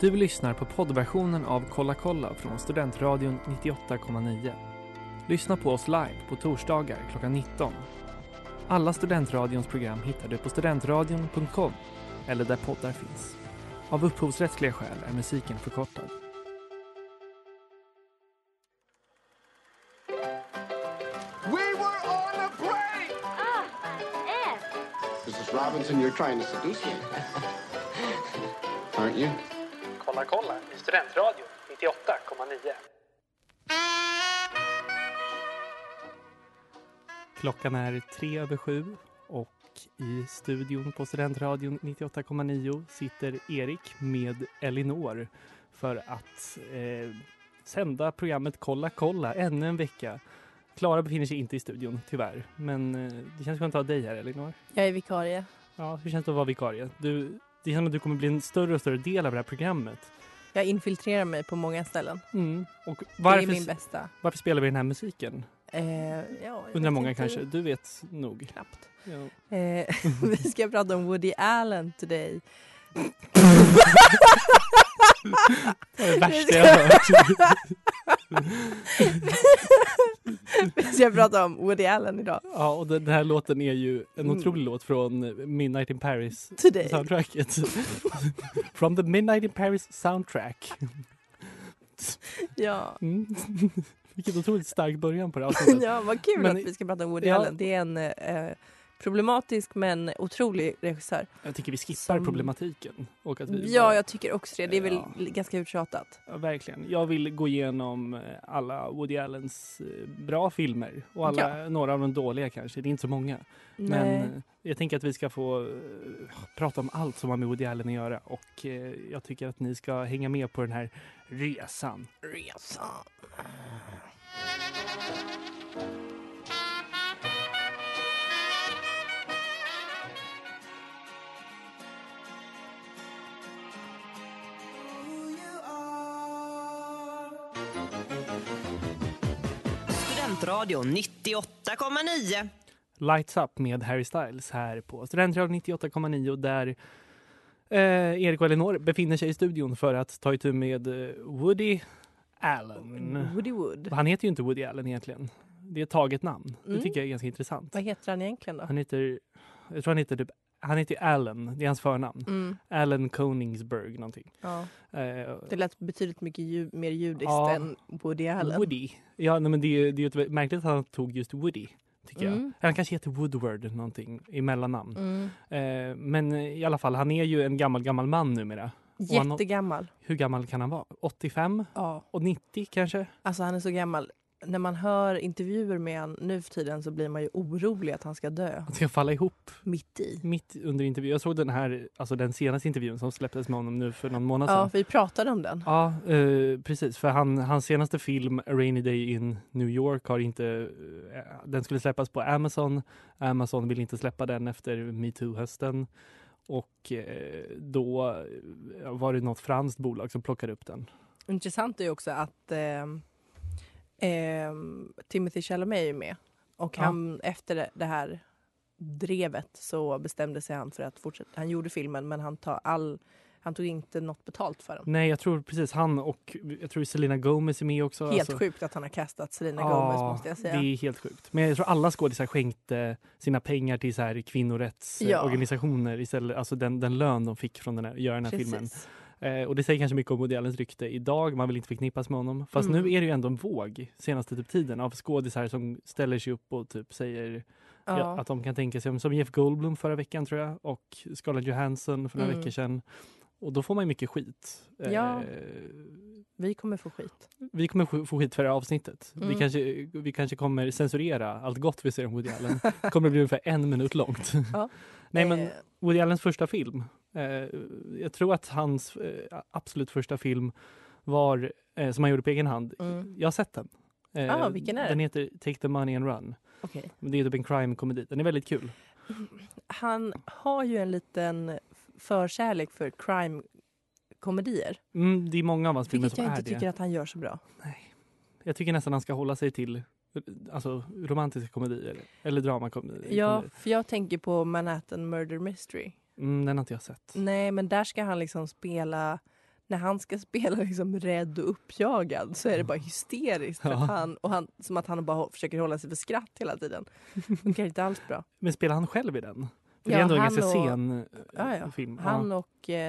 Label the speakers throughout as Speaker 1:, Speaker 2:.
Speaker 1: Du lyssnar på poddversionen av Kolla kolla från Studentradion 98,9. Lyssna på oss live på torsdagar klockan 19. Alla Studentradions program hittar du på studentradion.com eller där poddar finns. Av upphovsrättsliga skäl är musiken förkortad.
Speaker 2: We were on a break!
Speaker 3: Mrs. Robinson, you're trying to seduce me. Aren't you?
Speaker 1: Kolla kolla i Studentradion 98,9. Klockan är tre över sju och i studion på Studentradion 98,9 sitter Erik med Elinor för att eh, sända programmet Kolla kolla ännu en vecka. Klara befinner sig inte i studion, tyvärr. Men eh, det känns skönt att ha dig här, Elinor.
Speaker 4: Jag är vikarie.
Speaker 1: Ja, hur känns det att vara vikarie? Du, det känns som att du kommer bli en större och större del av det här programmet.
Speaker 4: Jag infiltrerar mig på många ställen.
Speaker 1: Mm. Och
Speaker 4: Det är min
Speaker 1: varför,
Speaker 4: bästa.
Speaker 1: varför spelar vi den här musiken?
Speaker 4: Eh, ja, jag
Speaker 1: Undrar
Speaker 4: vet
Speaker 1: många
Speaker 4: inte.
Speaker 1: kanske. Du vet nog.
Speaker 4: Knappt.
Speaker 1: Ja.
Speaker 4: Eh, vi ska prata om Woody Allen today.
Speaker 1: Det är det värsta jag har hört.
Speaker 4: vi ska prata om Woody Allen idag.
Speaker 1: Ja, och den den här låten är ju en
Speaker 4: Mm.
Speaker 1: otrolig låt från Midnight in Paris
Speaker 4: Today.
Speaker 1: soundtracket. From the Midnight in Paris soundtrack.
Speaker 4: Ja.
Speaker 1: Mm. Vilket otroligt stark början på det här avsnittet.
Speaker 4: ja, vad kul
Speaker 1: Men-
Speaker 4: att vi ska prata om Woody
Speaker 1: Ja.
Speaker 4: Allen. Det är en eh, problematisk men otrolig regissör.
Speaker 1: Jag tycker vi skippar
Speaker 4: Som- Mm,
Speaker 1: problematiken. Och att vi
Speaker 4: Ja, jag tycker också det. Det är väl
Speaker 1: Ja.
Speaker 4: ganska uttjatat.
Speaker 1: Ja, verkligen. Jag vill gå igenom eh, alla Woody Allens eh, bra filmer och alla, några av de dåliga kanske. Det är inte så många. Men
Speaker 4: Nej.
Speaker 1: eh, jag tänker att vi ska få eh, prata om allt som har med Woody Allen att göra och eh, jag tycker att ni ska hänga med på den här resan.
Speaker 4: Resan.
Speaker 5: Studentradion 98,9.
Speaker 1: Lights Up med Harry Styles här på Studentradion 98,9 där eh, Erik och Elinor befinner sig i studion för att ta itu med eh, Woody Allen.
Speaker 4: Woody Wood.
Speaker 1: Han heter ju inte Woody Allen egentligen. Det är ett taget namn. Det
Speaker 4: Mm.
Speaker 1: tycker jag är ganska intressant.
Speaker 4: Vad heter han egentligen då?
Speaker 1: Han heter, jag tror han heter typ, han heter ju Allen, det är hans förnamn.
Speaker 4: Mm,
Speaker 1: Allen Koningsberg någonting.
Speaker 4: ja.
Speaker 1: Eh,
Speaker 4: Det lät betydligt mycket ju, mer judiskt
Speaker 1: Ja.
Speaker 4: än Woody Allen.
Speaker 1: Woody. Ja, nej, men det är ju det är ju ett- märkligt att han tog just Woody. Tycker jag.
Speaker 4: Mm.
Speaker 1: Han kanske heter Woodward någonting i mellannamn.
Speaker 4: Mm.
Speaker 1: Eh, men i alla fall, han är ju en gammal, gammal man numera. Och han-
Speaker 4: Jättegammal.
Speaker 1: Hur gammal kan han vara? 85
Speaker 4: Ja.
Speaker 1: och 90 kanske?
Speaker 4: Alltså han är så gammal. När man hör intervjuer med han nu för tiden så blir man ju orolig att han ska dö
Speaker 1: Han ska falla ihop
Speaker 4: mitt i.
Speaker 1: mitt under intervjun. Jag såg den här, alltså den senaste intervjun som släpptes med honom nu för någon månad sedan.
Speaker 4: Ja, vi pratade om den.
Speaker 1: Ja, eh, precis. För han, hans senaste film, A Rainy Day in New York, har inte... eh, den skulle släppas på Amazon. Amazon vill inte släppa den efter metoo-hösten. Och eh, då eh, var det något franskt bolag som plockade upp den.
Speaker 4: Intressant är ju också att eh, eh, Timothy Chalamet är ju med. Och
Speaker 1: Ja.
Speaker 4: han, efter det- det här drevet så bestämde sig han för att fortsätta. Han gjorde filmen men han, tar all, han tog inte något betalt för den.
Speaker 1: Nej, jag tror precis han och jag tror Selena Gomez är med också.
Speaker 4: Helt
Speaker 1: Alltså,
Speaker 4: sjukt att han har kastat Selena
Speaker 1: ja,
Speaker 4: Gomez måste jag säga.
Speaker 1: Det är helt sjukt. Men jag tror alla skådisar skänkte sina pengar till så här
Speaker 4: Ja.
Speaker 1: kvinnorättsorganisationer istället. Alltså den, den lön de fick från den här, göra den här filmen.
Speaker 4: Precis.
Speaker 1: Eh, och det säger kanske mycket om Woody Allens rykte idag. Man vill inte förknippas med honom. Fast
Speaker 4: Mm.
Speaker 1: nu är det ju ändå en våg senaste typ tiden av skådisar som ställer sig upp och typ säger
Speaker 4: Ja.
Speaker 1: ja, att de kan tänka sig, som Jeff Goldblum förra veckan tror jag och Scarlett Johansson för några
Speaker 4: Mm.
Speaker 1: veckor sedan. Och då får man ju mycket skit. Eh,
Speaker 4: Ja. Vi kommer få skit.
Speaker 1: Vi kommer få- få skit för det här avsnittet. Vi,
Speaker 4: Mm.
Speaker 1: kanske, vi kanske kommer censurera allt gott vi ser om Woody Allen. Det kommer bli ungefär en minut långt.
Speaker 4: Ja.
Speaker 1: Nej, men
Speaker 4: Eh,
Speaker 1: Woody Allens första film. Eh, jag tror att hans eh, absolut första film var, eh, som han gjorde på egen hand.
Speaker 4: Mm.
Speaker 1: Jag har sett den. Eh,
Speaker 4: Ah, vilken är det?
Speaker 1: Den heter Take the money and run.
Speaker 4: Okej.
Speaker 1: Men Det är typ en crime-komedi. Den är väldigt kul.
Speaker 4: Han har ju en liten förkärlek för crime-komedier.
Speaker 1: Mm, det är många av hans filmer
Speaker 4: Vilket
Speaker 1: som
Speaker 4: jag
Speaker 1: är
Speaker 4: inte
Speaker 1: det.
Speaker 4: tycker att han gör så bra.
Speaker 1: Jag tycker nästan han ska hålla sig till eh, alltså, romantiska komedier eller dramakomedier.
Speaker 4: Ja, för jag tänker på Manhattan Murder Mystery.
Speaker 1: Mm, den har inte jag sett.
Speaker 4: Nej, men där ska han liksom spela... när han ska spela liksom rädd och uppjagad så är det bara hysteriskt. För att han, och han, som att han bara hå- försöker hålla sig för skratt hela tiden. Det funkar inte alls bra.
Speaker 1: Men spelar han själv i den? För det
Speaker 4: Ja,
Speaker 1: är ändå en
Speaker 4: han
Speaker 1: ganska
Speaker 4: och-
Speaker 1: sen eh,
Speaker 4: Ja, ja.
Speaker 1: film.
Speaker 4: Han och eh,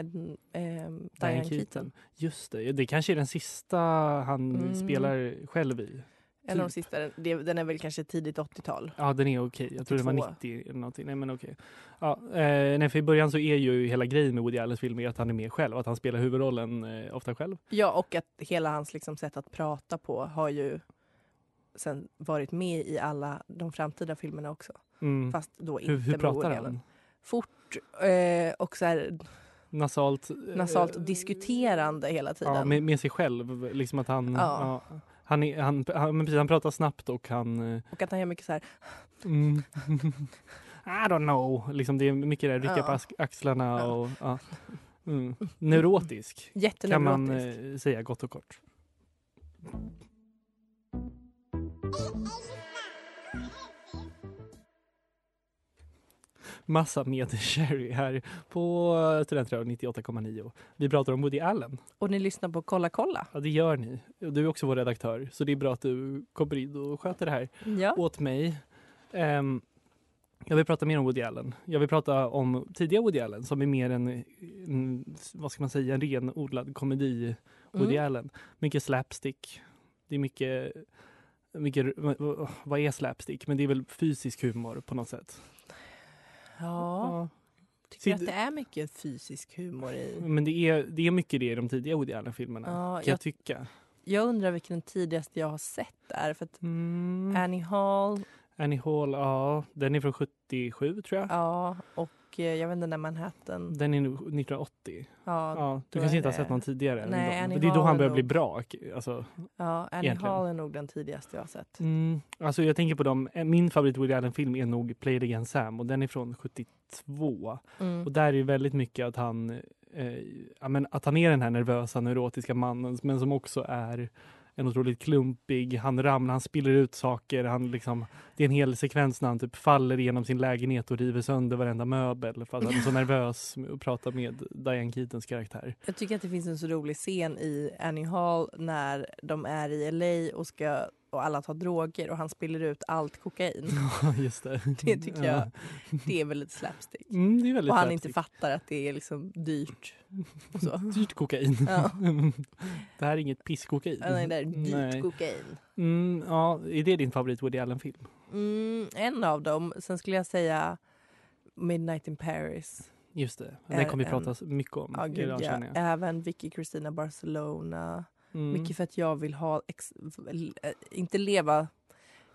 Speaker 4: eh, Diane Keaton.
Speaker 1: Just det, det kanske är den sista han
Speaker 4: Mm.
Speaker 1: spelar själv i.
Speaker 4: En av de
Speaker 1: Typ.
Speaker 4: sista. Den, det- den är väl kanske tidigt 80-tal.
Speaker 1: Ja, den är okej. Jag tror det var
Speaker 4: 82.
Speaker 1: 90 eller någonting. Nej, men okej. Ja, eh, nej, för i början så är ju hela grejen med Woody Allens filmer att han är med själv, att han spelar huvudrollen eh, ofta själv.
Speaker 4: Ja, och att hela hans liksom, sätt att prata på har ju sen varit med i alla de framtida filmerna också.
Speaker 1: Mm.
Speaker 4: Fast då inte
Speaker 1: Hur, hur
Speaker 4: med
Speaker 1: pratar
Speaker 4: Woody
Speaker 1: han?
Speaker 4: Allen. Fort eh, och så här
Speaker 1: Nasalt? eh,
Speaker 4: nasalt och diskuterande hela tiden.
Speaker 1: Ja, med, med sig själv. Liksom att han, ja.
Speaker 4: Ja.
Speaker 1: han, är, han, han, men precis, han pratar snabbt och han... eh,
Speaker 4: Och att han gör mycket så här,
Speaker 1: Mm. I don't know. Liksom det är mycket där, rycka
Speaker 4: Ja.
Speaker 1: på ax- axlarna
Speaker 4: Ja.
Speaker 1: och... Ja. Mm. Neurotisk kan
Speaker 4: jätteneurotisk.
Speaker 1: man eh, säga gott och kort. Massa med Sherry här på Studentradion 98,9. Vi pratar om Woody Allen.
Speaker 4: Och ni lyssnar på Kolla kolla.
Speaker 1: Ja, det gör ni. Och Du är också vår redaktör, så det är bra att du kommer in och sköter det här
Speaker 4: Ja.
Speaker 1: åt mig. Ehm, jag vill prata mer om Woody Allen. Jag vill prata om tidiga Woody Allen som är mer en, en vad ska man säga, en renodlad komedi Woody
Speaker 4: Mm.
Speaker 1: Allen. Mycket slapstick. Det är mycket, mycket, vad är slapstick? Men det är väl fysisk humor på något sätt.
Speaker 4: ja.
Speaker 1: Ja.
Speaker 4: Tycker du
Speaker 1: Sid-
Speaker 4: att det är mycket fysisk humor i?
Speaker 1: Men det är, det är mycket det i de tidiga Woody Allen-filmerna,
Speaker 4: Ja,
Speaker 1: kan jag,
Speaker 4: jag-
Speaker 1: tycka.
Speaker 4: Jag undrar vilken den tidigaste jag har sett är. För att
Speaker 1: Mm.
Speaker 4: Annie Hall,
Speaker 1: Annie Hall, ja, den är från 77 tror jag.
Speaker 4: ja, och eh, jag vet inte när Manhattan.
Speaker 1: Den är nog 1980.
Speaker 4: Ja,
Speaker 1: Ja, du
Speaker 4: då
Speaker 1: kanske
Speaker 4: är
Speaker 1: inte har
Speaker 4: det-
Speaker 1: sett någon tidigare. än
Speaker 4: Nej,
Speaker 1: dem.
Speaker 4: Annie
Speaker 1: Men det är då
Speaker 4: Hall
Speaker 1: han
Speaker 4: är
Speaker 1: börjar bli
Speaker 4: nog-
Speaker 1: bra. Alltså,
Speaker 4: ja Annie
Speaker 1: Egentligen.
Speaker 4: Hall är nog den tidigaste jag har sett.
Speaker 1: mm, alltså jag tänker på dem. Min favorit Woody Allen-film är nog Play it again Sam och den är från 72.
Speaker 4: Mm.
Speaker 1: Och där är det väldigt mycket att han, eh, ja, men att han är den här nervösa, neurotiska mannen men som också är en otroligt klumpig, han ramlar, han spiller ut saker. Han liksom, det är en hel sekvens när han typ faller genom sin lägenhet och river sönder varenda möbel för att han är så nervös och pratar med Diane Keatons karaktär.
Speaker 4: Jag tycker att det finns en så rolig scen i Annie Hall när de är i LA och, ska, och alla tar droger och han spiller ut allt kokain.
Speaker 1: Just det.
Speaker 4: Det tycker
Speaker 1: Ja.
Speaker 4: jag, det är väl lite slapstick.
Speaker 1: Mm, det är väldigt
Speaker 4: Och han
Speaker 1: slapstick.
Speaker 4: inte fattar att det är liksom dyrt. Och så.
Speaker 1: Dyrt kokain.
Speaker 4: Ja.
Speaker 1: det här är inget pisskokain.
Speaker 4: Ja, Nej, det är dyrt
Speaker 1: Nej.
Speaker 4: kokain.
Speaker 1: Mm, ja, är det din favorit Woody Allen-film?
Speaker 4: Mm, en av dem. Sen skulle jag säga Midnight in Paris.
Speaker 1: Just det,
Speaker 4: Är
Speaker 1: den kommer vi
Speaker 4: en-
Speaker 1: prata så mycket om.
Speaker 4: Eh, Ja, gud,
Speaker 1: idag,
Speaker 4: ja.
Speaker 1: känner jag.
Speaker 4: Även Vicky Cristina Barcelona.
Speaker 1: Mm.
Speaker 4: Mycket för att jag vill ha... Ex- l- eh, inte leva...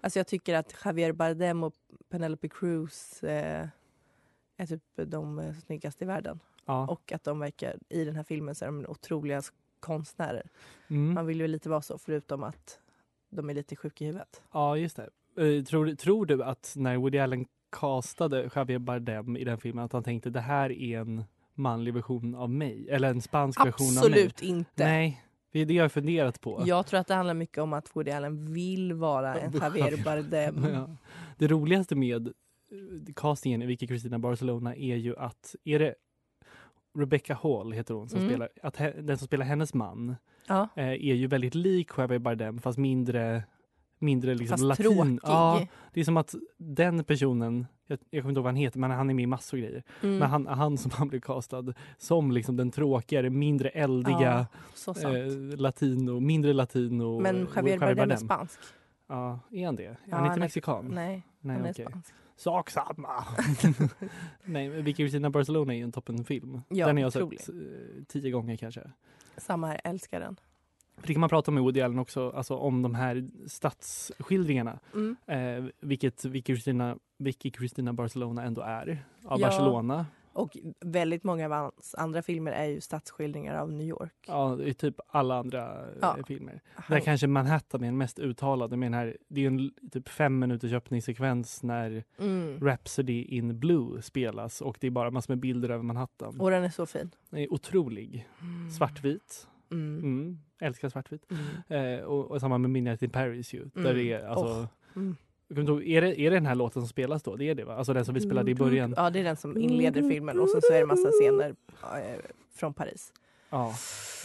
Speaker 4: Alltså jag tycker att Javier Bardem och Penelope Cruz eh, är typ de eh, snyggaste i världen.
Speaker 1: Ja.
Speaker 4: Och att de verkar, i den här filmen så är de otroliga s- konstnärer.
Speaker 1: Mm.
Speaker 4: Man vill ju lite vara så, förutom att de är lite sjuka i huvudet.
Speaker 1: ja, just det. Eh, tror, tror du att när Woody Allen castade Javier Bardem i den filmen att han tänkte det här är en manlig version av mig? Eller en spansk version av mig?
Speaker 4: Absolut inte!
Speaker 1: Nej, det är det jag har funderat på.
Speaker 4: Jag tror att det handlar mycket om att Woody Allen vill vara en Javier Bardem.
Speaker 1: Ja. Det roligaste med eh, castingen i Vicky Cristina Barcelona är ju att är det Rebecca Hall heter hon som
Speaker 4: Mm.
Speaker 1: spelar, att he, den som spelar hennes man
Speaker 4: Ja.
Speaker 1: eh, är ju väldigt lik Javier Bardem fast mindre mindre liksom
Speaker 4: Fast
Speaker 1: latin.
Speaker 4: tråkig.
Speaker 1: Ja, det är som att den personen, jag, jag kommer inte ihåg vad han heter men han är med i massor av grejer.
Speaker 4: Mm.
Speaker 1: Men han, han som han blev castad som liksom den tråkigare, mindre eldiga
Speaker 4: så sant.
Speaker 1: eh, latino, mindre latino.
Speaker 4: Men
Speaker 1: eh,
Speaker 4: Javier, Bardem är spansk.
Speaker 1: Ja, är han det?
Speaker 4: Ja,
Speaker 1: han är
Speaker 4: han
Speaker 1: inte
Speaker 4: är-
Speaker 1: mexikan?
Speaker 4: Nej,
Speaker 1: Mm. Nej,
Speaker 4: han är
Speaker 1: okej.
Speaker 4: spansk.
Speaker 1: Sak samma! Nej, men Vicky Cristina Barcelona är ju en toppenfilm.
Speaker 4: Ja,
Speaker 1: den har jag
Speaker 4: otrolig.
Speaker 1: sett eh, tio gånger kanske.
Speaker 4: Samma här, älskar den.
Speaker 1: För det kan man prata om i Woody Allen också, alltså om de här stadsskildringarna.
Speaker 4: Mm.
Speaker 1: Eh, vilket Vicky Cristina, Vicky Cristina Barcelona ändå är, av
Speaker 4: Ja.
Speaker 1: Barcelona.
Speaker 4: Och väldigt många av hans andra filmer är ju stadsskildringar av New York.
Speaker 1: Ja, i typ alla andra eh,
Speaker 4: Ja.
Speaker 1: filmer. Där
Speaker 4: Han-
Speaker 1: kanske Manhattan är den mest uttalade med den här, det är ju en l- typ fem minuters öppningssekvens när
Speaker 4: mm.
Speaker 1: Rhapsody in Blue spelas och det är bara massor med bilder över Manhattan.
Speaker 4: Och Mm. den är så fin.
Speaker 1: Den är otrolig. Svartvit.
Speaker 4: Mm.
Speaker 1: Mm. Älskar svartvitt.
Speaker 4: Mm.
Speaker 1: Eh, och, och samma med Midnight in Paris ju. Där det är alltså...
Speaker 4: Oh. Mm.
Speaker 1: Jag kommer inte ihåg, Är, det, är det den här låten som spelas då? Det är det va? Alltså den som vi
Speaker 4: Mm,
Speaker 1: spelade i början.
Speaker 4: Ja, det är den som inleder filmen och sen så är det massa scener eh, från Paris.
Speaker 1: Ja,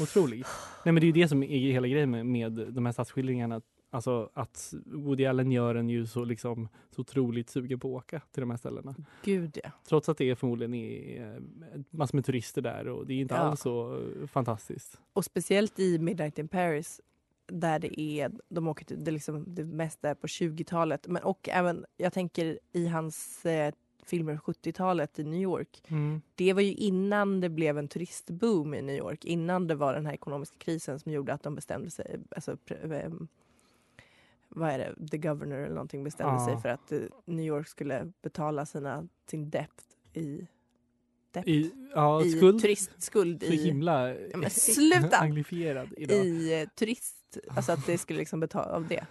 Speaker 1: otrolig. Nej, men det är ju det som är hela grejen med, med de här stadsskildringarna. Alltså att Woody Allen gör en ju så, liksom, så otroligt sugen på att åka till de här ställena.
Speaker 4: Gud ja.
Speaker 1: Trots att det är förmodligen är eh, massor med turister där och det är inte
Speaker 4: Ja.
Speaker 1: alls så eh, fantastiskt.
Speaker 4: Och speciellt i Midnight in Paris där det är, de åker till, det, är liksom, det mesta är på 20-talet. Men och även, jag tänker i hans eh, filmer på 70-talet i New York. Det var ju innan det blev en turistboom i New York. Innan det var den här ekonomiska krisen som gjorde att de bestämde sig, alltså pr- ehm, vad är det, the governor eller någonting bestämde
Speaker 1: Ja.
Speaker 4: sig för att eh, New York skulle betala sina, sin dept i, dept,
Speaker 1: I, ja,
Speaker 4: i
Speaker 1: skuld.
Speaker 4: turistskuld
Speaker 1: Så
Speaker 4: i
Speaker 1: himla
Speaker 4: Ja, men sluta!
Speaker 1: anglifierad idag.
Speaker 4: i eh, turist, alltså att det skulle liksom betala av det.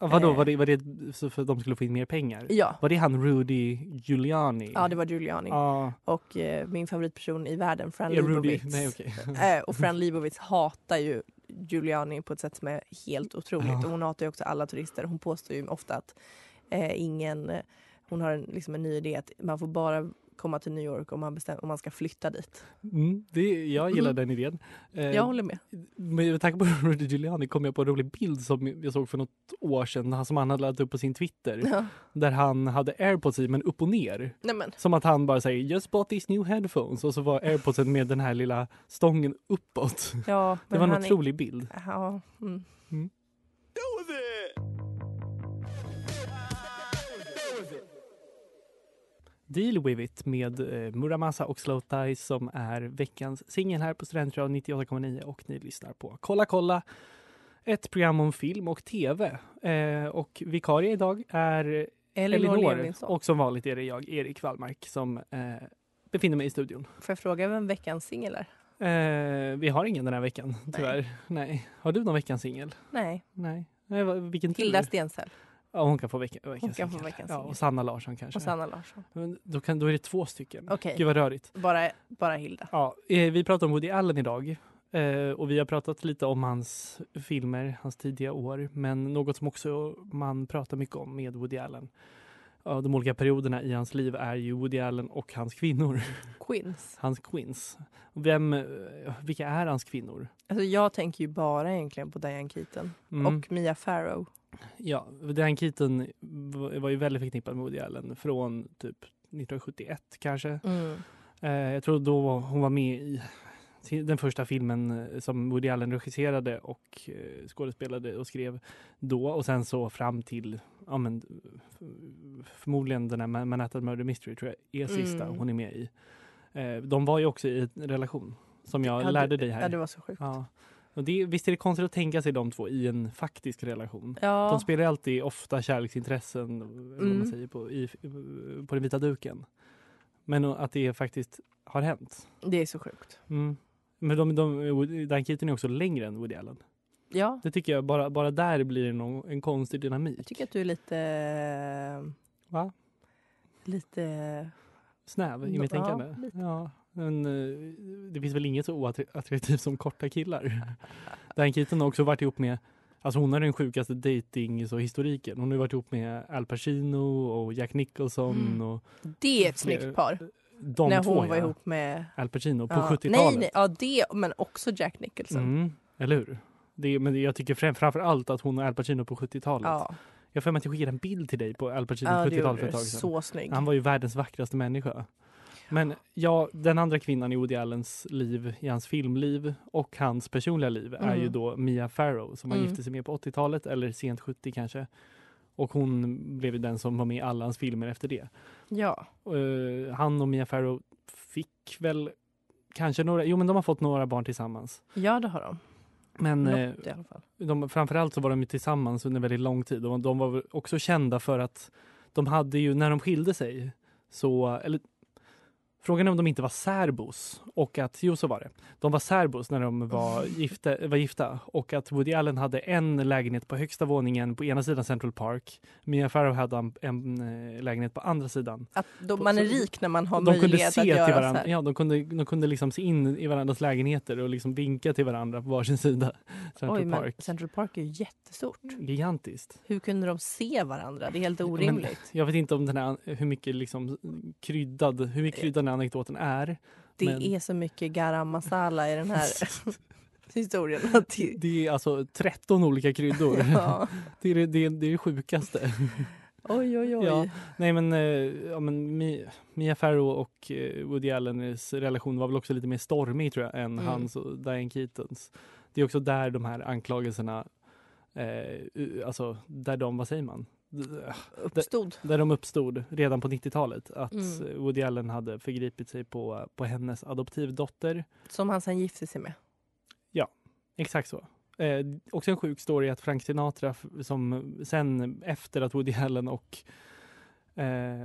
Speaker 1: Ja, vadå,
Speaker 4: Eh.
Speaker 1: var det, var det så för att de skulle få in mer pengar?
Speaker 4: Ja,
Speaker 1: Var det han Rudy Giuliani?
Speaker 4: ja det var Giuliani.
Speaker 1: Ja,
Speaker 4: Och eh, min favoritperson i världen, Fran
Speaker 1: är Rudy.
Speaker 4: Lebowitz.
Speaker 1: Nej, okej.
Speaker 4: Eh, och Fran Lebowitz hatar ju Giuliani på ett sätt som är helt otroligt.
Speaker 1: Ja.
Speaker 4: Och hon hatar ju också alla turister. Hon påstår ju ofta att eh, ingen, eh, hon har en, liksom en ny idé att man får bara komma till New York om man, bestäm- om man ska flytta dit.
Speaker 1: Mm, det, jag gillar
Speaker 4: Mm.
Speaker 1: den idén. Eh,
Speaker 4: Jag håller med.
Speaker 1: Men med tanke på Rudy Giuliani kom jag på en rolig bild som jag såg för något år sedan han- som han hade lagt upp på sin Twitter.
Speaker 4: Ja.
Speaker 1: Där han hade airpods i men upp och ner.
Speaker 4: Nej men,
Speaker 1: Som att han bara säger “just bought these new headphones” och så var airpodsen med den här lilla stången uppåt.
Speaker 4: ja, men
Speaker 1: det var en
Speaker 4: han är-
Speaker 1: otrolig bild.
Speaker 4: Ja, mm.
Speaker 1: Deal with it med eh, Muramasa och Slow Ties som är veckans singel här på Studentradion 98,9 och ni lyssnar på Kolla kolla, ett program om film och tv. Eh, och vikarie idag är
Speaker 4: Elinor,
Speaker 1: Elinor
Speaker 4: Levinson.
Speaker 1: och som vanligt är det jag, Erik Wallmark, som eh, befinner mig i studion.
Speaker 4: Får jag fråga vem veckans singel är?
Speaker 1: Eh, vi har ingen den här veckan, tyvärr. Nej. Har du någon veckans singel?
Speaker 4: Nej,
Speaker 1: Nej. Nej, vad- vilken tur.
Speaker 4: Hilda Stensell
Speaker 1: Ja, hon kan få vecka, veckans
Speaker 4: Hon kan få
Speaker 1: singel.
Speaker 4: veckans
Speaker 1: ja,
Speaker 4: singel.
Speaker 1: Och Sanna Larsson kanske.
Speaker 4: och Sanna Larsson.
Speaker 1: Men då, kan, då är det två stycken.
Speaker 4: Okej.
Speaker 1: Gud vad rörigt.
Speaker 4: Bara, bara Hilda.
Speaker 1: Ja, eh, vi pratar om Woody Allen idag eh, och vi har pratat lite om hans filmer, hans tidiga år, men något som också man pratar mycket om med Woody Allen, ja, de olika perioderna i hans liv är ju Woody Allen och hans kvinnor,
Speaker 4: Queens.
Speaker 1: hans queens. Vem, eh, vilka är hans kvinnor?
Speaker 4: Alltså jag tänker ju bara egentligen på Diane Keaton
Speaker 1: Mm.
Speaker 4: och Mia Farrow.
Speaker 1: Ja, Diane Keaton v- var ju väldigt förknippad med Woody Allen från typ 1971 kanske.
Speaker 4: Mm.
Speaker 1: Eh, jag tror då var- hon var med i till den första filmen eh, som Woody Allen regisserade och eh, skådespelade och skrev då och sen så fram till ja, men, f- förmodligen den här Man- Manhattan Murder Mystery tror jag är sista
Speaker 4: Mm.
Speaker 1: hon är med i. Eh, de var ju också i en relation som jag
Speaker 4: Ja, det-
Speaker 1: lärde dig här.
Speaker 4: Ja, det var så sjukt.
Speaker 1: Ja. Och det, visst är det konstigt att tänka sig de två i en faktisk relation? De
Speaker 4: Ja,
Speaker 1: spelar ju alltid ofta kärleksintressen vad man
Speaker 4: Mm.
Speaker 1: säger, på, i, på den vita duken. Men att det faktiskt har hänt.
Speaker 4: det är så sjukt.
Speaker 1: Mm. Men de, de, Woody- Dan Keaton är också längre än Woody Allen.
Speaker 4: Ja,
Speaker 1: Det tycker jag, bara, bara där blir det någon, en konstig
Speaker 4: jag
Speaker 1: dynamik.
Speaker 4: tycker att du är lite...
Speaker 1: Va?
Speaker 4: Lite...
Speaker 1: Snäv i
Speaker 4: Mm, Ja,
Speaker 1: mitt tänkande.
Speaker 4: lite.
Speaker 1: Ja, men, eh, det finns väl inget så oattraktivt som korta killar. Dan Keaton har också varit ihop med Alltså hon har den sjukaste dating så historiken. Hon har ju varit ihop med Al Pacino och Jack Nicholson
Speaker 4: Mm.
Speaker 1: och
Speaker 4: Det är ett snyggt par.
Speaker 1: de
Speaker 4: När
Speaker 1: två.
Speaker 4: hon var
Speaker 1: ja.
Speaker 4: ihop med...
Speaker 1: Al Pacino på
Speaker 4: ja.
Speaker 1: 70-talet.
Speaker 4: Nej, liksom. nej, ja det, men också Jack Nicholson.
Speaker 1: Mm, eller hur? Det, men jag tycker främ- framför allt att hon och Al Pacino på 70-talet.
Speaker 4: Ja,
Speaker 1: Jag har för mig att jag skickade en bild till dig på Al Pacino
Speaker 4: ja det
Speaker 1: 70-talet för ett
Speaker 4: gjorde du.
Speaker 1: tag sedan.
Speaker 4: Så snygg.
Speaker 1: Han var ju världens vackraste människa. Men ja, den andra kvinnan i Woody Allens liv, i hans filmliv och hans personliga liv är
Speaker 4: Mm.
Speaker 1: ju då Mia Farrow som han
Speaker 4: Mm.
Speaker 1: gifte sig med på 80-talet eller sent 70 kanske. Och hon blev ju den som var med i alla hans filmer efter det.
Speaker 4: Ja.
Speaker 1: Eh, han och Mia Farrow fick väl kanske några, jo men de har fått några barn tillsammans.
Speaker 4: ja, det har de.
Speaker 1: Men eh,
Speaker 4: Något i alla fall.
Speaker 1: de, framförallt så var de ju tillsammans under väldigt lång tid och de var väl också kända för att de hade ju, när de skilde sig, så, eller frågan är om de inte var särbos och att, jo så var det, de var särbos när de var gifta, var gifta och att Woody Allen hade en lägenhet på högsta våningen på ena sidan Central Park, Mia Farrow hade en, en eh, lägenhet på andra sidan
Speaker 4: Att de, man är rik när man har
Speaker 1: de kunde
Speaker 4: möjlighet
Speaker 1: se
Speaker 4: att göra
Speaker 1: till
Speaker 4: så
Speaker 1: varandra.
Speaker 4: här.
Speaker 1: Ja, de kunde, de kunde liksom se in i varandras lägenheter och liksom vinka till varandra på varsin sida. Central
Speaker 4: Oj, men
Speaker 1: Park.
Speaker 4: Central Park är ju jättestort.
Speaker 1: Gigantiskt.
Speaker 4: Hur kunde de se varandra? Det är helt orimligt.
Speaker 1: Jag vet inte om den här, hur mycket liksom kryddad, hur mycket kryddad den här anekdoten är.
Speaker 4: Det
Speaker 1: Men-
Speaker 4: är så mycket garam masala i den här historien. Att det,
Speaker 1: Det är alltså 13 olika kryddor.
Speaker 4: ja.
Speaker 1: Det, är, det, det, är, det är det sjukaste.
Speaker 4: Oj, oj, oj.
Speaker 1: Ja. Nej men, eh, ja, men Mi- Mia Farrow och eh, Woody Allens relation var väl också lite mer stormig tror jag än
Speaker 4: Mm.
Speaker 1: hans och Diane Keatons. Det är också där de här anklagelserna, eh, u- alltså där de, vad säger man? D-
Speaker 4: Uppstod.
Speaker 1: Där de uppstod redan på 90-talet att
Speaker 4: Mm.
Speaker 1: eh, Woody Allen hade förgripit sig på, på hennes adoptivdotter.
Speaker 4: Som han sen gifte sig med.
Speaker 1: Exakt så. Eh, också en sjuk story att Frank Sinatra f- som sen efter att Woody Allen och eh,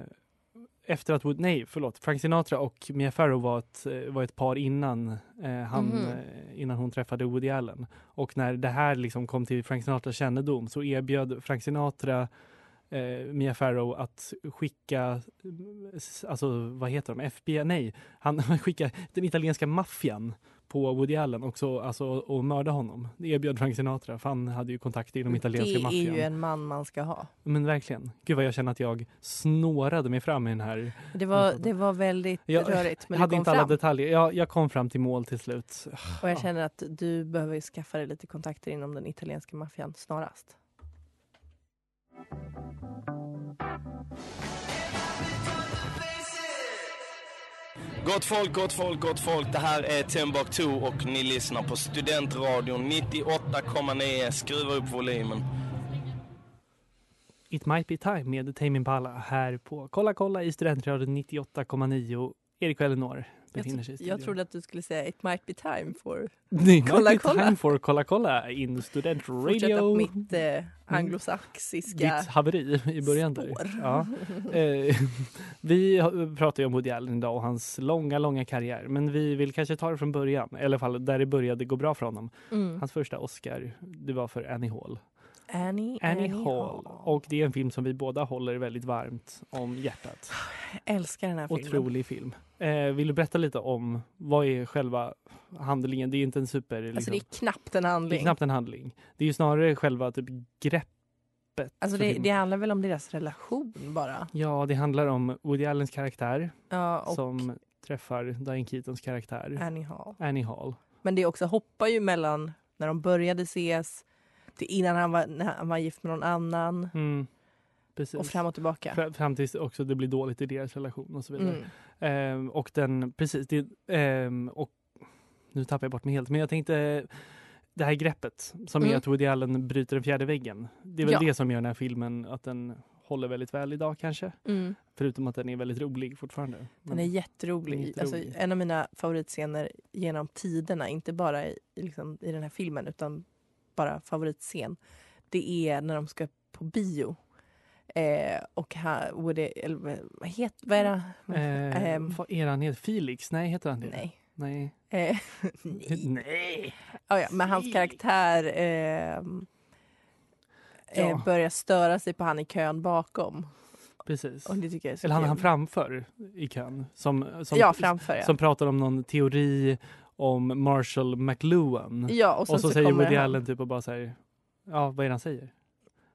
Speaker 1: efter att Woody, nej förlåt, Frank Sinatra och Mia Farrow var ett, eh, var ett par innan, eh, han,
Speaker 4: Mhm.
Speaker 1: eh, innan hon träffade Woody Allen. Och när det här liksom kom till Frank Sinatras kännedom så erbjöd Frank Sinatra eh, Mia Farrow att skicka, s- alltså vad heter de, FBI, nej, han skickade den italienska maffian på Woody Allen och, så, alltså, och mörda honom. Det erbjöd Frank Sinatra för han hade ju kontakter inom
Speaker 4: Mm, det
Speaker 1: italienska
Speaker 4: är
Speaker 1: maffian.
Speaker 4: ju en man man ska ha.
Speaker 1: Men verkligen, gud vad jag känner att jag snårade mig fram i den här.
Speaker 4: Det var, det var väldigt
Speaker 1: Jag
Speaker 4: rörigt
Speaker 1: jag
Speaker 4: men du
Speaker 1: hade
Speaker 4: kom
Speaker 1: inte alla
Speaker 4: fram.
Speaker 1: detaljer. Jag, jag kom fram till mål till slut.
Speaker 4: Och jag känner att du behöver ju skaffa dig lite kontakter inom den italienska maffian snarast.
Speaker 6: Gott folk, gott folk, gott folk. Det här är Timbuktu och ni lyssnar på Studentradion 98,9. Skruva upp volymen.
Speaker 1: It might be time med Tame Impala här på Kolla kolla i Studentradion 98,9. Erik och Elinor
Speaker 4: Jag,
Speaker 1: befinner sig i
Speaker 4: tro- jag
Speaker 1: studion.
Speaker 4: trodde att du skulle säga it might be time for
Speaker 1: Det är
Speaker 4: Kolla,
Speaker 1: kolla, kolla.
Speaker 4: kolla.
Speaker 1: time for Kolla kolla in Student
Speaker 4: fortsätta på
Speaker 1: Radio. Mm.
Speaker 4: mitt eh, anglosaxiska
Speaker 1: Ditt haveri i början där.
Speaker 4: spår.
Speaker 1: Ja. Eh, vi har- pratar ju om Woody Allen idag och hans långa, långa karriär. Men vi vill kanske ta det från början, i alla fall där det började gå bra för honom.
Speaker 4: Mm.
Speaker 1: Hans första Oscar, det var för Annie Hall.
Speaker 4: Annie,
Speaker 1: Annie, Hall. Och det är en film som vi båda håller väldigt varmt om hjärtat.
Speaker 4: Jag älskar den här filmen.
Speaker 1: Otrolig film. Eh, vill du berätta lite om vad är själva handlingen? Det är inte en super... Liksom,
Speaker 4: Alltså det är knappt en
Speaker 1: det är
Speaker 4: handling.
Speaker 1: knappt en handling. Det är ju snarare själva typ greppet.
Speaker 4: Alltså
Speaker 1: för
Speaker 4: det,
Speaker 1: filmen.
Speaker 4: det handlar väl om deras relation bara.
Speaker 1: Ja, det handlar om Woody Allens karaktär
Speaker 4: Ja, och
Speaker 1: som träffar Diane Keatons karaktär
Speaker 4: Annie Hall.
Speaker 1: Annie Hall.
Speaker 4: Men det är också hoppar ju mellan när de började ses till innan han var, när han var gift med någon annan
Speaker 1: Mm. Precis.
Speaker 4: och fram och tillbaka.
Speaker 1: Fra- fram tills också det blir dåligt i deras relation och så vidare.
Speaker 4: Mm.
Speaker 1: Ehm, och den, precis, det, ehm, och nu tappar jag bort mig helt, men jag tänkte det här greppet som är
Speaker 4: Mm.
Speaker 1: att Woody Allen bryter den fjärde väggen. Det är väl
Speaker 4: Ja.
Speaker 1: det som gör den här filmen att den håller väldigt väl idag kanske.
Speaker 4: Mm.
Speaker 1: Förutom att den är väldigt rolig fortfarande.
Speaker 4: Den är jätterolig.
Speaker 1: Den är
Speaker 4: alltså,
Speaker 1: jätterolig.
Speaker 4: en av mina favoritscener genom tiderna, inte bara i, i liksom, i den här filmen utan bara favoritscen. Det är när de ska på bio. Eh, och ha, Woody, eller, vad- vad, het, vad är det?
Speaker 1: Eh,
Speaker 4: Ehm.
Speaker 1: vad är han heter? Felix? Nej, heter han det?
Speaker 4: Nej.
Speaker 1: Nej.
Speaker 4: Eh, ah,
Speaker 1: Nej.
Speaker 4: Ja, ja, men hans karaktär eh,
Speaker 1: Ja.
Speaker 4: eh, börjar störa sig på han i kön bakom.
Speaker 1: Precis.
Speaker 4: Och det tycker jag är så
Speaker 1: Eller han,
Speaker 4: kul.
Speaker 1: han framför i kön. Som, som,
Speaker 4: ja, framför ja.
Speaker 1: som pratar om någon teori om Marshall McLuhan.
Speaker 4: ja och, sen
Speaker 1: och så,
Speaker 4: så
Speaker 1: säger
Speaker 4: kommer
Speaker 1: Woody
Speaker 4: han-
Speaker 1: Allen typ och bara så här, ja vad är det han säger?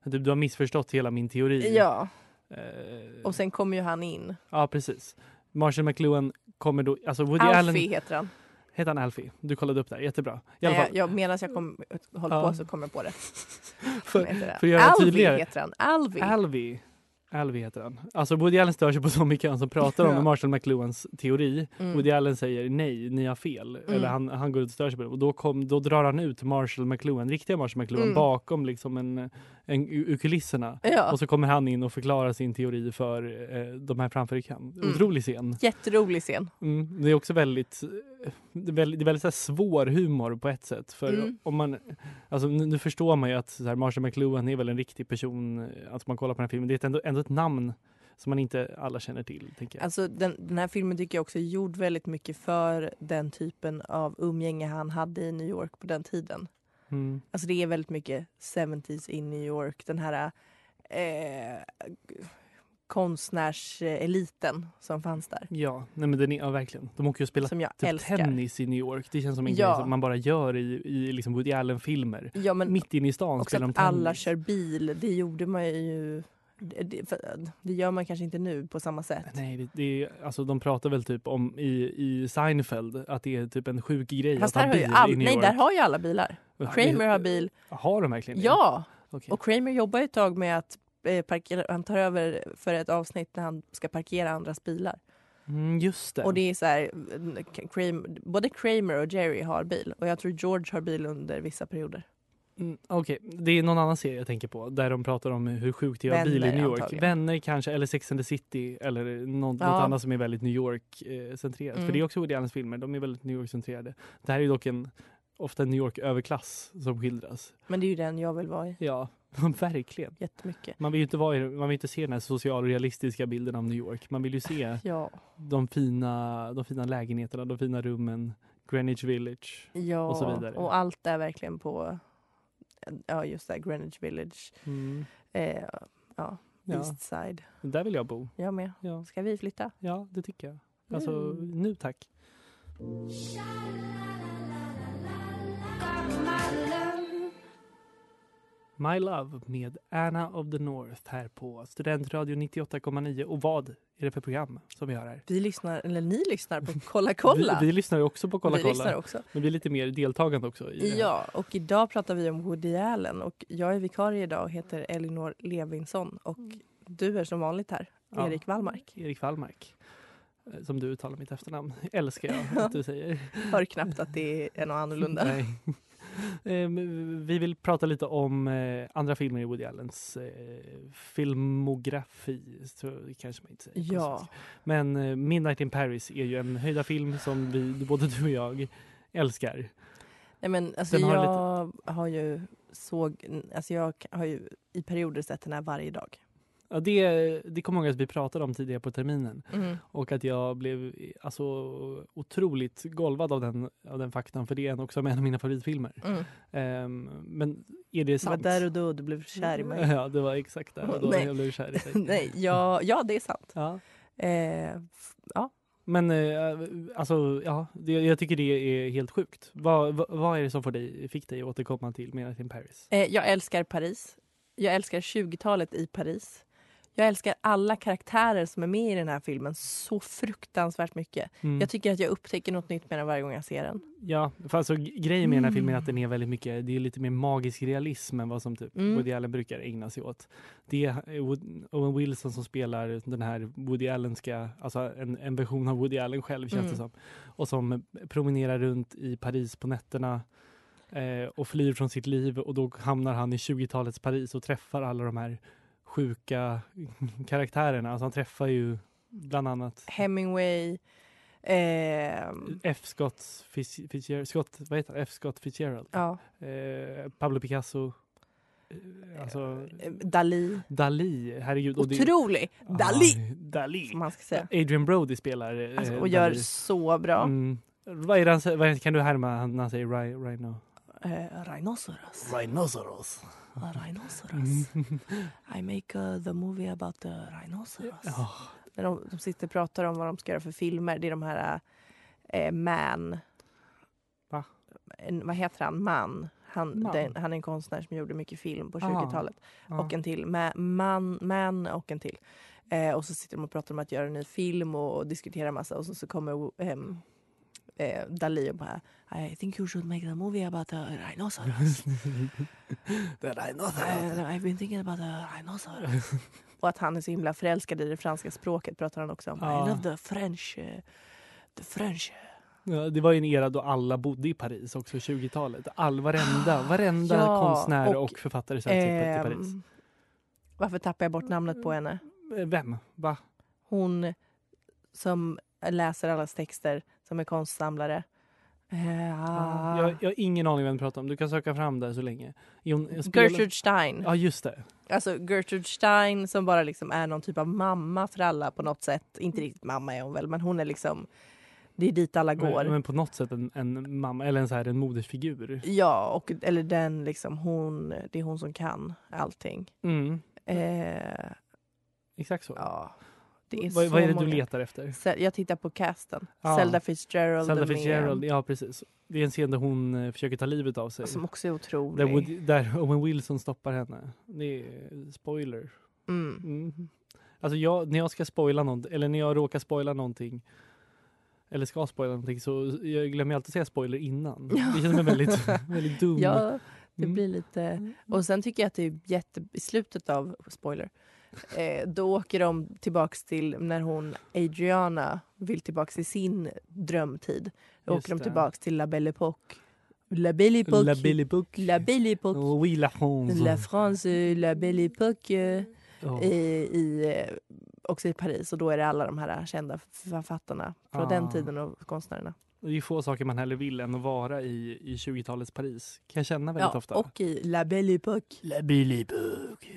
Speaker 1: Typ, du har missförstått hela min teori.
Speaker 4: Ja,
Speaker 1: Eh,
Speaker 4: och sen kommer ju han in.
Speaker 1: ja precis. Marshall McLuhan kommer då, alltså Woody
Speaker 4: Alfie
Speaker 1: Allen,
Speaker 4: heter han.
Speaker 1: heter han Alfie? Du kollade upp där, jättebra. I alla
Speaker 4: Nej,
Speaker 1: fall,
Speaker 4: jag, medan jag kom, håller
Speaker 1: Ja.
Speaker 4: på så kommer jag på det.
Speaker 1: För-
Speaker 4: Han heter det.
Speaker 1: för att göra det
Speaker 4: Alvi
Speaker 1: tydligare.
Speaker 4: heter han. Alvi.
Speaker 1: Alvie. Alvie heter han. Alltså Woody Allen stör sig på så mycket han som pratar om
Speaker 4: Ja.
Speaker 1: Marshall McLuhans teori.
Speaker 4: Mm.
Speaker 1: Woody Allen säger nej, ni har fel. Eller han, han går ut och stör sig på det. Och då, kom, då drar han ut Marshall McLuhan, riktiga Marshall McLuhan,
Speaker 4: Mm.
Speaker 1: bakom liksom en, en, ur kulisserna.
Speaker 4: Ja.
Speaker 1: Och så kommer han in och förklarar sin teori för eh, de här framför i kan.
Speaker 4: Mm.
Speaker 1: Otrolig scen.
Speaker 4: Jätterolig scen.
Speaker 1: Mm. Det är också väldigt, eh, det är väldigt, det är väldigt så här svår humor på ett sätt. För
Speaker 4: Mm.
Speaker 1: om man, alltså, nu, nu förstår man ju att så här, Marshall McLuhan är väl en riktig person, eh, att man kollar på den här filmen. Det är ett- ändå, ändå ett namn som man inte alla känner till. Tänker jag.
Speaker 4: Alltså, den, den här filmen tycker jag också är gjord väldigt mycket för den typen av umgänge han hade i New York på den tiden.
Speaker 1: Mm.
Speaker 4: Alltså det är väldigt mycket 70s i New York. Den här eh, konstnärseliten som fanns där.
Speaker 1: Ja, nej, men den är, ja, verkligen. De åker ju och spelar
Speaker 4: Som jag
Speaker 1: typ
Speaker 4: älskar.
Speaker 1: tennis i New York. Det känns som en
Speaker 4: Ja.
Speaker 1: grej som man bara gör i, i liksom Woody Allen-filmer.
Speaker 4: Ja, men
Speaker 1: Mm. Mitt inne i stan
Speaker 4: också
Speaker 1: spelar de
Speaker 4: att
Speaker 1: tennis.
Speaker 4: alla kör bil. Det gjorde man ju Det, det, för- det gör man kanske inte nu på samma sätt.
Speaker 1: Nej, det, det är, alltså de pratar väl typ om i, i Seinfeld att det är typ en sjuk grej
Speaker 4: Fast
Speaker 1: att
Speaker 4: här
Speaker 1: ha
Speaker 4: har ju
Speaker 1: bil i
Speaker 4: all,
Speaker 1: New
Speaker 4: nej,
Speaker 1: York.
Speaker 4: där har ju alla bilar. Kramer har bil.
Speaker 1: Har de verkligen det?
Speaker 4: Ja!
Speaker 1: Okej.
Speaker 4: Och Kramer jobbar ju ett tag med att eh, parkera, han tar över för ett avsnitt när han ska parkera andras bilar.
Speaker 1: Mm, just det.
Speaker 4: Och det är så här, Kramer, både Kramer och Jerry har bil och jag tror George har bil under vissa perioder.
Speaker 1: Mm, Okej, det är någon annan serie jag tänker på där de pratar om hur sjukt det är att ha bil i
Speaker 4: Vänner,
Speaker 1: New York.
Speaker 4: antagligen.
Speaker 1: Vänner kanske, eller Sex and the City eller något, något
Speaker 4: Ja.
Speaker 1: annat som är väldigt New York-centrerat. För
Speaker 4: Mm.
Speaker 1: det är också Woody Allens filmer, de är väldigt New York-centrerade. Det här är ju dock en, ofta en New York-överklass som skildras.
Speaker 4: Men det är ju den jag vill vara i
Speaker 1: Ja, verkligen.
Speaker 4: jättemycket.
Speaker 1: Man vill ju inte, vara, i- man vill inte se den här socialrealistiska bilden av New York. Man vill ju se
Speaker 4: Ja,
Speaker 1: de fina, de fina lägenheterna, de fina rummen, Greenwich Village.
Speaker 4: ja.
Speaker 1: Och så vidare.
Speaker 4: och allt är verkligen på ja, just där Greenwich Village,
Speaker 1: Mm.
Speaker 4: eh,
Speaker 1: Ja,
Speaker 4: East Side.
Speaker 1: där vill jag bo.
Speaker 4: Jag med.
Speaker 1: Ja,
Speaker 4: Ska vi flytta?
Speaker 1: ja det tycker jag. Alltså,
Speaker 4: Mm.
Speaker 1: nu tack. My Love med Anna of the North här på Studentradio 98,9. Och vad är det för program som vi har här?
Speaker 4: Vi lyssnar, eller ni lyssnar på Kolla kolla.
Speaker 1: Vi, vi lyssnar ju också på Kolla
Speaker 4: vi lyssnar
Speaker 1: kolla.
Speaker 4: också.
Speaker 1: Men vi är lite mer deltagande också. I det här.
Speaker 4: Ja, och idag pratar vi om Woody Allen och jag är vikarie idag och heter Elinor Levinson och du är som vanligt här,
Speaker 1: Mm. Ja.
Speaker 4: Erik Wallmark.
Speaker 1: Erik Wallmark. Eh, Som du uttalar mitt efternamn. Älskar jag att du säger.
Speaker 4: Hör knappt att det är något annorlunda.
Speaker 1: Nej. Ehm, Vi vill prata lite om eh, andra filmer i Woody Allens eh, filmografi. Så kanske man inte säger på
Speaker 4: Ja.
Speaker 1: svenska. Men eh, Midnight in Paris är ju en höjda film som vi, både du och jag älskar.
Speaker 4: Nej men alltså
Speaker 1: Den har
Speaker 4: jag har, ju såg, alltså jag har ju i perioder sett den här varje dag.
Speaker 1: Ja, det, det kommer jag ihåg att vi pratade om tidigare på terminen
Speaker 4: Mm.
Speaker 1: och att jag blev eh, alltså, otroligt golvad av den, av den faktan för det är en, också en av mina favoritfilmer.
Speaker 4: Mm.
Speaker 1: Ehm, men är det
Speaker 4: Det var
Speaker 1: sant?
Speaker 4: där och då du blev kär i mig.
Speaker 1: Ja, det var exakt där och då
Speaker 4: Nej.
Speaker 1: jag blev kär i dig.
Speaker 4: Nej, ja, ja det är sant.
Speaker 1: Ja.
Speaker 4: Eh,
Speaker 1: Men eh, alltså, ja, det, jag tycker det är helt sjukt. Vad, vad, vad är det som får dig, fick dig att återkomma till Midnight in Paris?
Speaker 4: Eh, jag älskar Paris. Jag älskar 20-talet i Paris. Jag älskar alla karaktärer som är med i den här filmen så fruktansvärt mycket.
Speaker 1: Mm.
Speaker 4: Jag tycker att jag upptäcker något nytt med den varje gång jag ser den.
Speaker 1: Ja, för alltså, g- grejen med den här filmen är att den är väldigt mycket, det är lite mer magisk realism än vad som typ
Speaker 4: Mm.
Speaker 1: Woody Allen brukar ägna sig åt. Det är eh, Wood- Owen Wilson som spelar den här Woody Allenska, alltså en, en version av Woody Allen själv känns det som. Och som promenerar runt i Paris på nätterna eh, och flyr från sitt liv och då hamnar han i 20-talets Paris och träffar alla de här sjuka karaktärerna. Alltså han träffar ju bland annat
Speaker 4: Hemingway, eh,
Speaker 1: F. Scott Fitz- Fitzgerald, Scott, vad heter han? F. Scott Fitzgerald.
Speaker 4: ja,
Speaker 1: Eh, Pablo Picasso. Eh, alltså,
Speaker 4: eh, Dalí.
Speaker 1: Dali, herregud. och det-
Speaker 4: Otrolig!
Speaker 1: Ah,
Speaker 4: Dalí!
Speaker 1: Dali.
Speaker 4: Som man ska säga.
Speaker 1: Adrian Brody spelar eh,
Speaker 4: Alltså, och gör
Speaker 1: Dali.
Speaker 4: så bra.
Speaker 1: Mm. Vad är det han säger? Vad är- Kan du härma han- när han säger Ri- Rhino?
Speaker 4: Eh, rhinoceros.
Speaker 1: Rhinoceros.
Speaker 4: A rhinoceros.
Speaker 1: Mm.
Speaker 4: I make uh, the movie about the rhinoceros.
Speaker 1: Ja.
Speaker 4: När de, de sitter och pratar om vad de ska göra för filmer. Det är de här eh, Man...
Speaker 1: Va?
Speaker 4: En, vad heter han? Man. Han,
Speaker 1: Man. Ah.
Speaker 4: Den, han är en konstnär som gjorde mycket film på
Speaker 1: Aha.
Speaker 4: 20-talet.
Speaker 1: Ja.
Speaker 4: Och en till. Ma, man, man och en till. Eh, och så sitter de och pratar om att göra en ny film och, och diskuterar massa. Och så, så kommer ehm, eh, Dalí och bara I think you should make the movie about a rhinoceros.
Speaker 1: The Rhinoceros.
Speaker 4: Eh, I've been thinking about a rhinoceros. och att han är så himla förälskad i det franska språket pratar han också om.
Speaker 1: Ja.
Speaker 4: I love the French. eh, The French.
Speaker 1: Ja, det var ju en era då alla bodde i Paris också, 20-talet. All, varenda varenda
Speaker 4: Ja,
Speaker 1: konstnär och,
Speaker 4: och,
Speaker 1: författare sökte sig till
Speaker 4: Ehm,
Speaker 1: Paris.
Speaker 4: varför tappar jag bort namnet på henne?
Speaker 1: Eh, Vem? Va?
Speaker 4: Hon som läser allas texter, som är konstsamlare. Eh, ah.
Speaker 1: Jag, jag har ingen aning vem du pratar om. Du kan söka fram där så länge. Jon- jag spelar-
Speaker 4: Gertrude Stein.
Speaker 1: Ja, just det.
Speaker 4: Alltså Gertrude Stein som bara liksom är någon typ av mamma för alla på något sätt. Inte riktigt mamma är hon väl, men hon är liksom... Det är dit alla går.
Speaker 1: Men, men på något sätt en, en mamma eller en, så här, en modersfigur.
Speaker 4: Ja, och, eller den liksom hon, det är hon som kan allting.
Speaker 1: Mm,
Speaker 4: Eh,
Speaker 1: exakt så.
Speaker 4: ja, det är
Speaker 1: vad,
Speaker 4: så
Speaker 1: vad är det
Speaker 4: många.
Speaker 1: du letar efter?
Speaker 4: Se- Jag tittar på casten.
Speaker 1: Ja.
Speaker 4: Zelda Fitzgerald. är
Speaker 1: Zelda
Speaker 4: med,
Speaker 1: Fitzgerald, ja precis. Det är en scen där hon eh, försöker ta livet av sig.
Speaker 4: Som också Alltså, är
Speaker 1: Där,
Speaker 4: otrolig.
Speaker 1: Woody, där Owen Wilson stoppar henne. Det är eh, spoiler.
Speaker 4: Mm.
Speaker 1: Mm. Alltså jag, när jag ska spoila något, eller när jag råkar spoila någonting eller ska spoila någonting så jag glömmer alltid säga spoiler innan. Det känns mig väldigt, väldigt dum.
Speaker 4: Ja, det
Speaker 1: Mm.
Speaker 4: blir lite... Och sen tycker jag att det är jätte... I slutet av... Spoiler. Eh, då åker de tillbaks till när hon, Adriana, vill tillbaks till sin drömtid. Då
Speaker 1: Just
Speaker 4: åker de
Speaker 1: det.
Speaker 4: tillbaks till La Belle Époque. La Belle Époque.
Speaker 1: La Belle Époque.
Speaker 4: La Belle Époque.
Speaker 1: Oui, la France.
Speaker 4: La France, eh, La Belle Époque. eh,
Speaker 1: Ja.
Speaker 4: I, i, eh, också i Paris. Och då är det alla de här kända författarna från
Speaker 1: Ah.
Speaker 4: den tiden och konstnärerna.
Speaker 1: Det är få saker man hellre vill än att vara i, i 20-talets Paris. Kan jag känna väldigt ofta.
Speaker 4: och i La Belle Époque.
Speaker 1: La Belle Époque.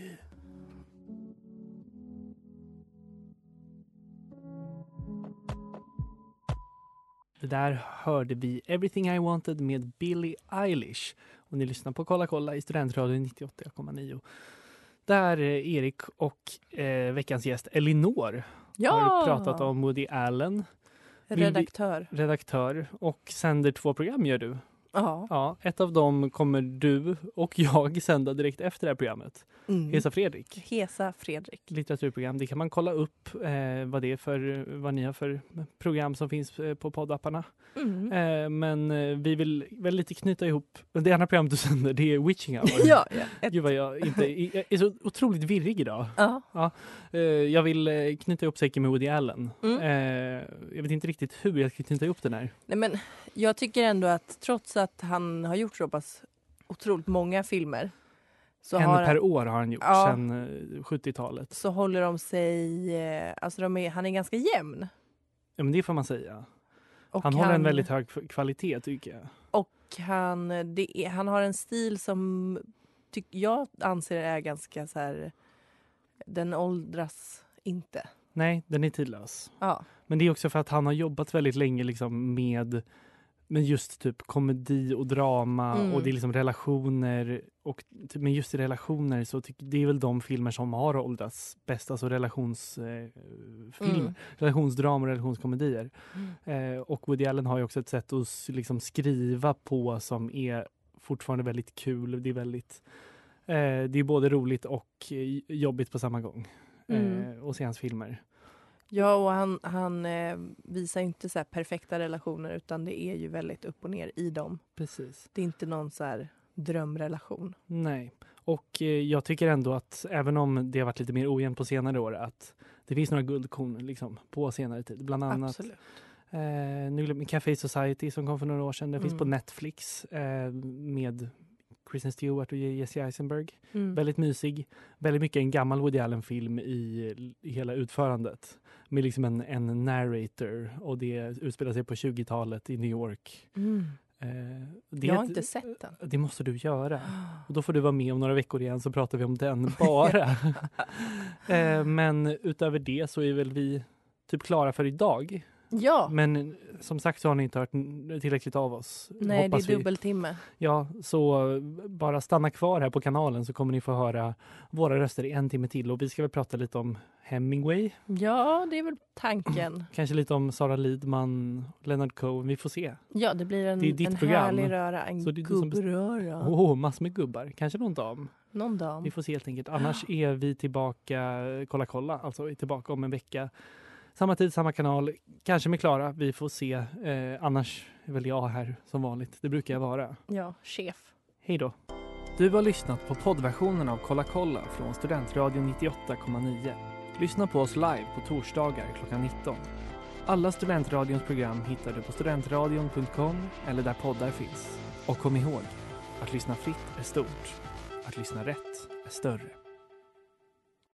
Speaker 1: Det där hörde vi Everything I Wanted med Billie Eilish. Och ni lyssnar på Kolla kolla i Studentradion 98,9. Där eh, Erik och eh, veckans gäst Elinor
Speaker 4: Ja!
Speaker 1: har pratat om Woody Allen,
Speaker 4: Redaktör.
Speaker 1: redaktör, och sänder två program gör du.
Speaker 4: Ja.
Speaker 1: Ja, ett av dem kommer du och jag sända direkt efter det här programmet.
Speaker 4: Mm.
Speaker 1: Hesa Fredrik,
Speaker 4: Hesa Fredrik.
Speaker 1: litteraturprogram. Det kan man kolla upp eh, vad det är för, vad ni har för program som finns eh, på poddapparna.
Speaker 4: Mm.
Speaker 1: Eh, men eh, vi vill väl lite knyta ihop, det andra program du sänder det är Witching Hour.
Speaker 4: Ja, ja. Ett,
Speaker 1: Gud vad jag inte, jag är så otroligt virrig idag.
Speaker 4: ja.
Speaker 1: Eh, jag vill eh, knyta ihop säcken med Woody Allen.
Speaker 4: Mm.
Speaker 1: Eh, jag vet inte riktigt hur jag ska knyta ihop den här.
Speaker 4: Nej, men jag tycker ändå att trots att han har gjort så pass otroligt många filmer så,
Speaker 1: en
Speaker 4: har,
Speaker 1: per år har han gjort
Speaker 4: Ja.
Speaker 1: sedan eh, 70-talet.
Speaker 4: så håller de sig... eh, Alltså de är, han är ganska jämn.
Speaker 1: Ja, men det får man säga.
Speaker 4: Och
Speaker 1: han håller en väldigt hög f- kvalitet tycker jag.
Speaker 4: och han, det är, han har en stil som tyck, jag anser är ganska så här... Den åldras inte.
Speaker 1: Nej, den är tidlös.
Speaker 4: Ja.
Speaker 1: Men det är också för att han har jobbat väldigt länge liksom med men just typ komedi och drama
Speaker 4: Mm.
Speaker 1: och det är liksom relationer. Och, typ- men just i relationer så tycker det är väl de filmer som har åldrats bäst. Alltså relationsfilmer, eh,
Speaker 4: Mm.
Speaker 1: film, relationsdrama och relationskomedier. Eh, och Woody Allen har ju också ett sätt att s- liksom skriva på som är fortfarande väldigt kul. Det är väldigt eh, det är både roligt och eh, jobbigt på samma gång.
Speaker 4: Mm.
Speaker 1: Eh, och se hans filmer.
Speaker 4: Ja, och han, han eh, visar ju inte så här perfekta relationer utan det är ju väldigt upp och ner i dem.
Speaker 1: Precis.
Speaker 4: Det är inte någon så här drömrelation.
Speaker 1: Nej. Och eh, jag tycker ändå att även om det har varit lite mer ojämnt på senare år att det finns några guldkorn liksom, på senare tid. Bland annat
Speaker 4: Absolut.
Speaker 1: eh, nu glömmer jag Café Society som kom för några år sedan. Den finns på
Speaker 4: Mm.
Speaker 1: Netflix eh, med Kristen Stewart och Jesse Eisenberg.
Speaker 4: Mm.
Speaker 1: Väldigt mysig. Väldigt mycket en gammal Woody Allen-film i, i hela utförandet. Med liksom en, en narrator och det utspelar sig på 20-talet i New York.
Speaker 4: Mm.
Speaker 1: Eh, det,
Speaker 4: Jag
Speaker 1: är
Speaker 4: har
Speaker 1: ett-
Speaker 4: inte sett den.
Speaker 1: det måste du göra. Och då får du vara med om några veckor igen så pratar vi om den bara. eh, men utöver det så är väl vi typ klara för idag.
Speaker 4: Ja,
Speaker 1: Men som sagt så har ni inte hört n- tillräckligt av oss.
Speaker 4: nej det
Speaker 1: Hoppas
Speaker 4: är
Speaker 1: vi.
Speaker 4: dubbeltimme.
Speaker 1: Ja, så eh, bara stanna kvar här på kanalen så kommer ni få höra våra röster i en timme till och vi ska väl prata lite om Hemingway,
Speaker 4: Ja, det är väl tanken.
Speaker 1: kanske lite om Sara Lidman, Leonard Cohen, vi får se.
Speaker 4: Ja, det blir en,
Speaker 1: Det är ditt
Speaker 4: en
Speaker 1: program.
Speaker 4: härlig röra, en
Speaker 1: Så det är du som bes-
Speaker 4: gubbröra.
Speaker 1: Åh, massor med gubbar, kanske någon dam.
Speaker 4: Någon dag.
Speaker 1: Vi får se helt enkelt. Annars är vi tillbaka, kolla kolla, alltså är tillbaka om en vecka. Samma tid, samma kanal, kanske med Klara, vi får se. Eh, annars är väl jag här som vanligt, det brukar jag vara.
Speaker 4: Ja, chef.
Speaker 1: Hej då! Du har lyssnat på poddversionen av Kolla kolla från Studentradion 98,9. Lyssna på oss live på torsdagar klockan 19. Alla Studentradions program hittar du på studentradion.com eller där poddar finns. Och kom ihåg, att lyssna fritt är stort. Att lyssna rätt är större.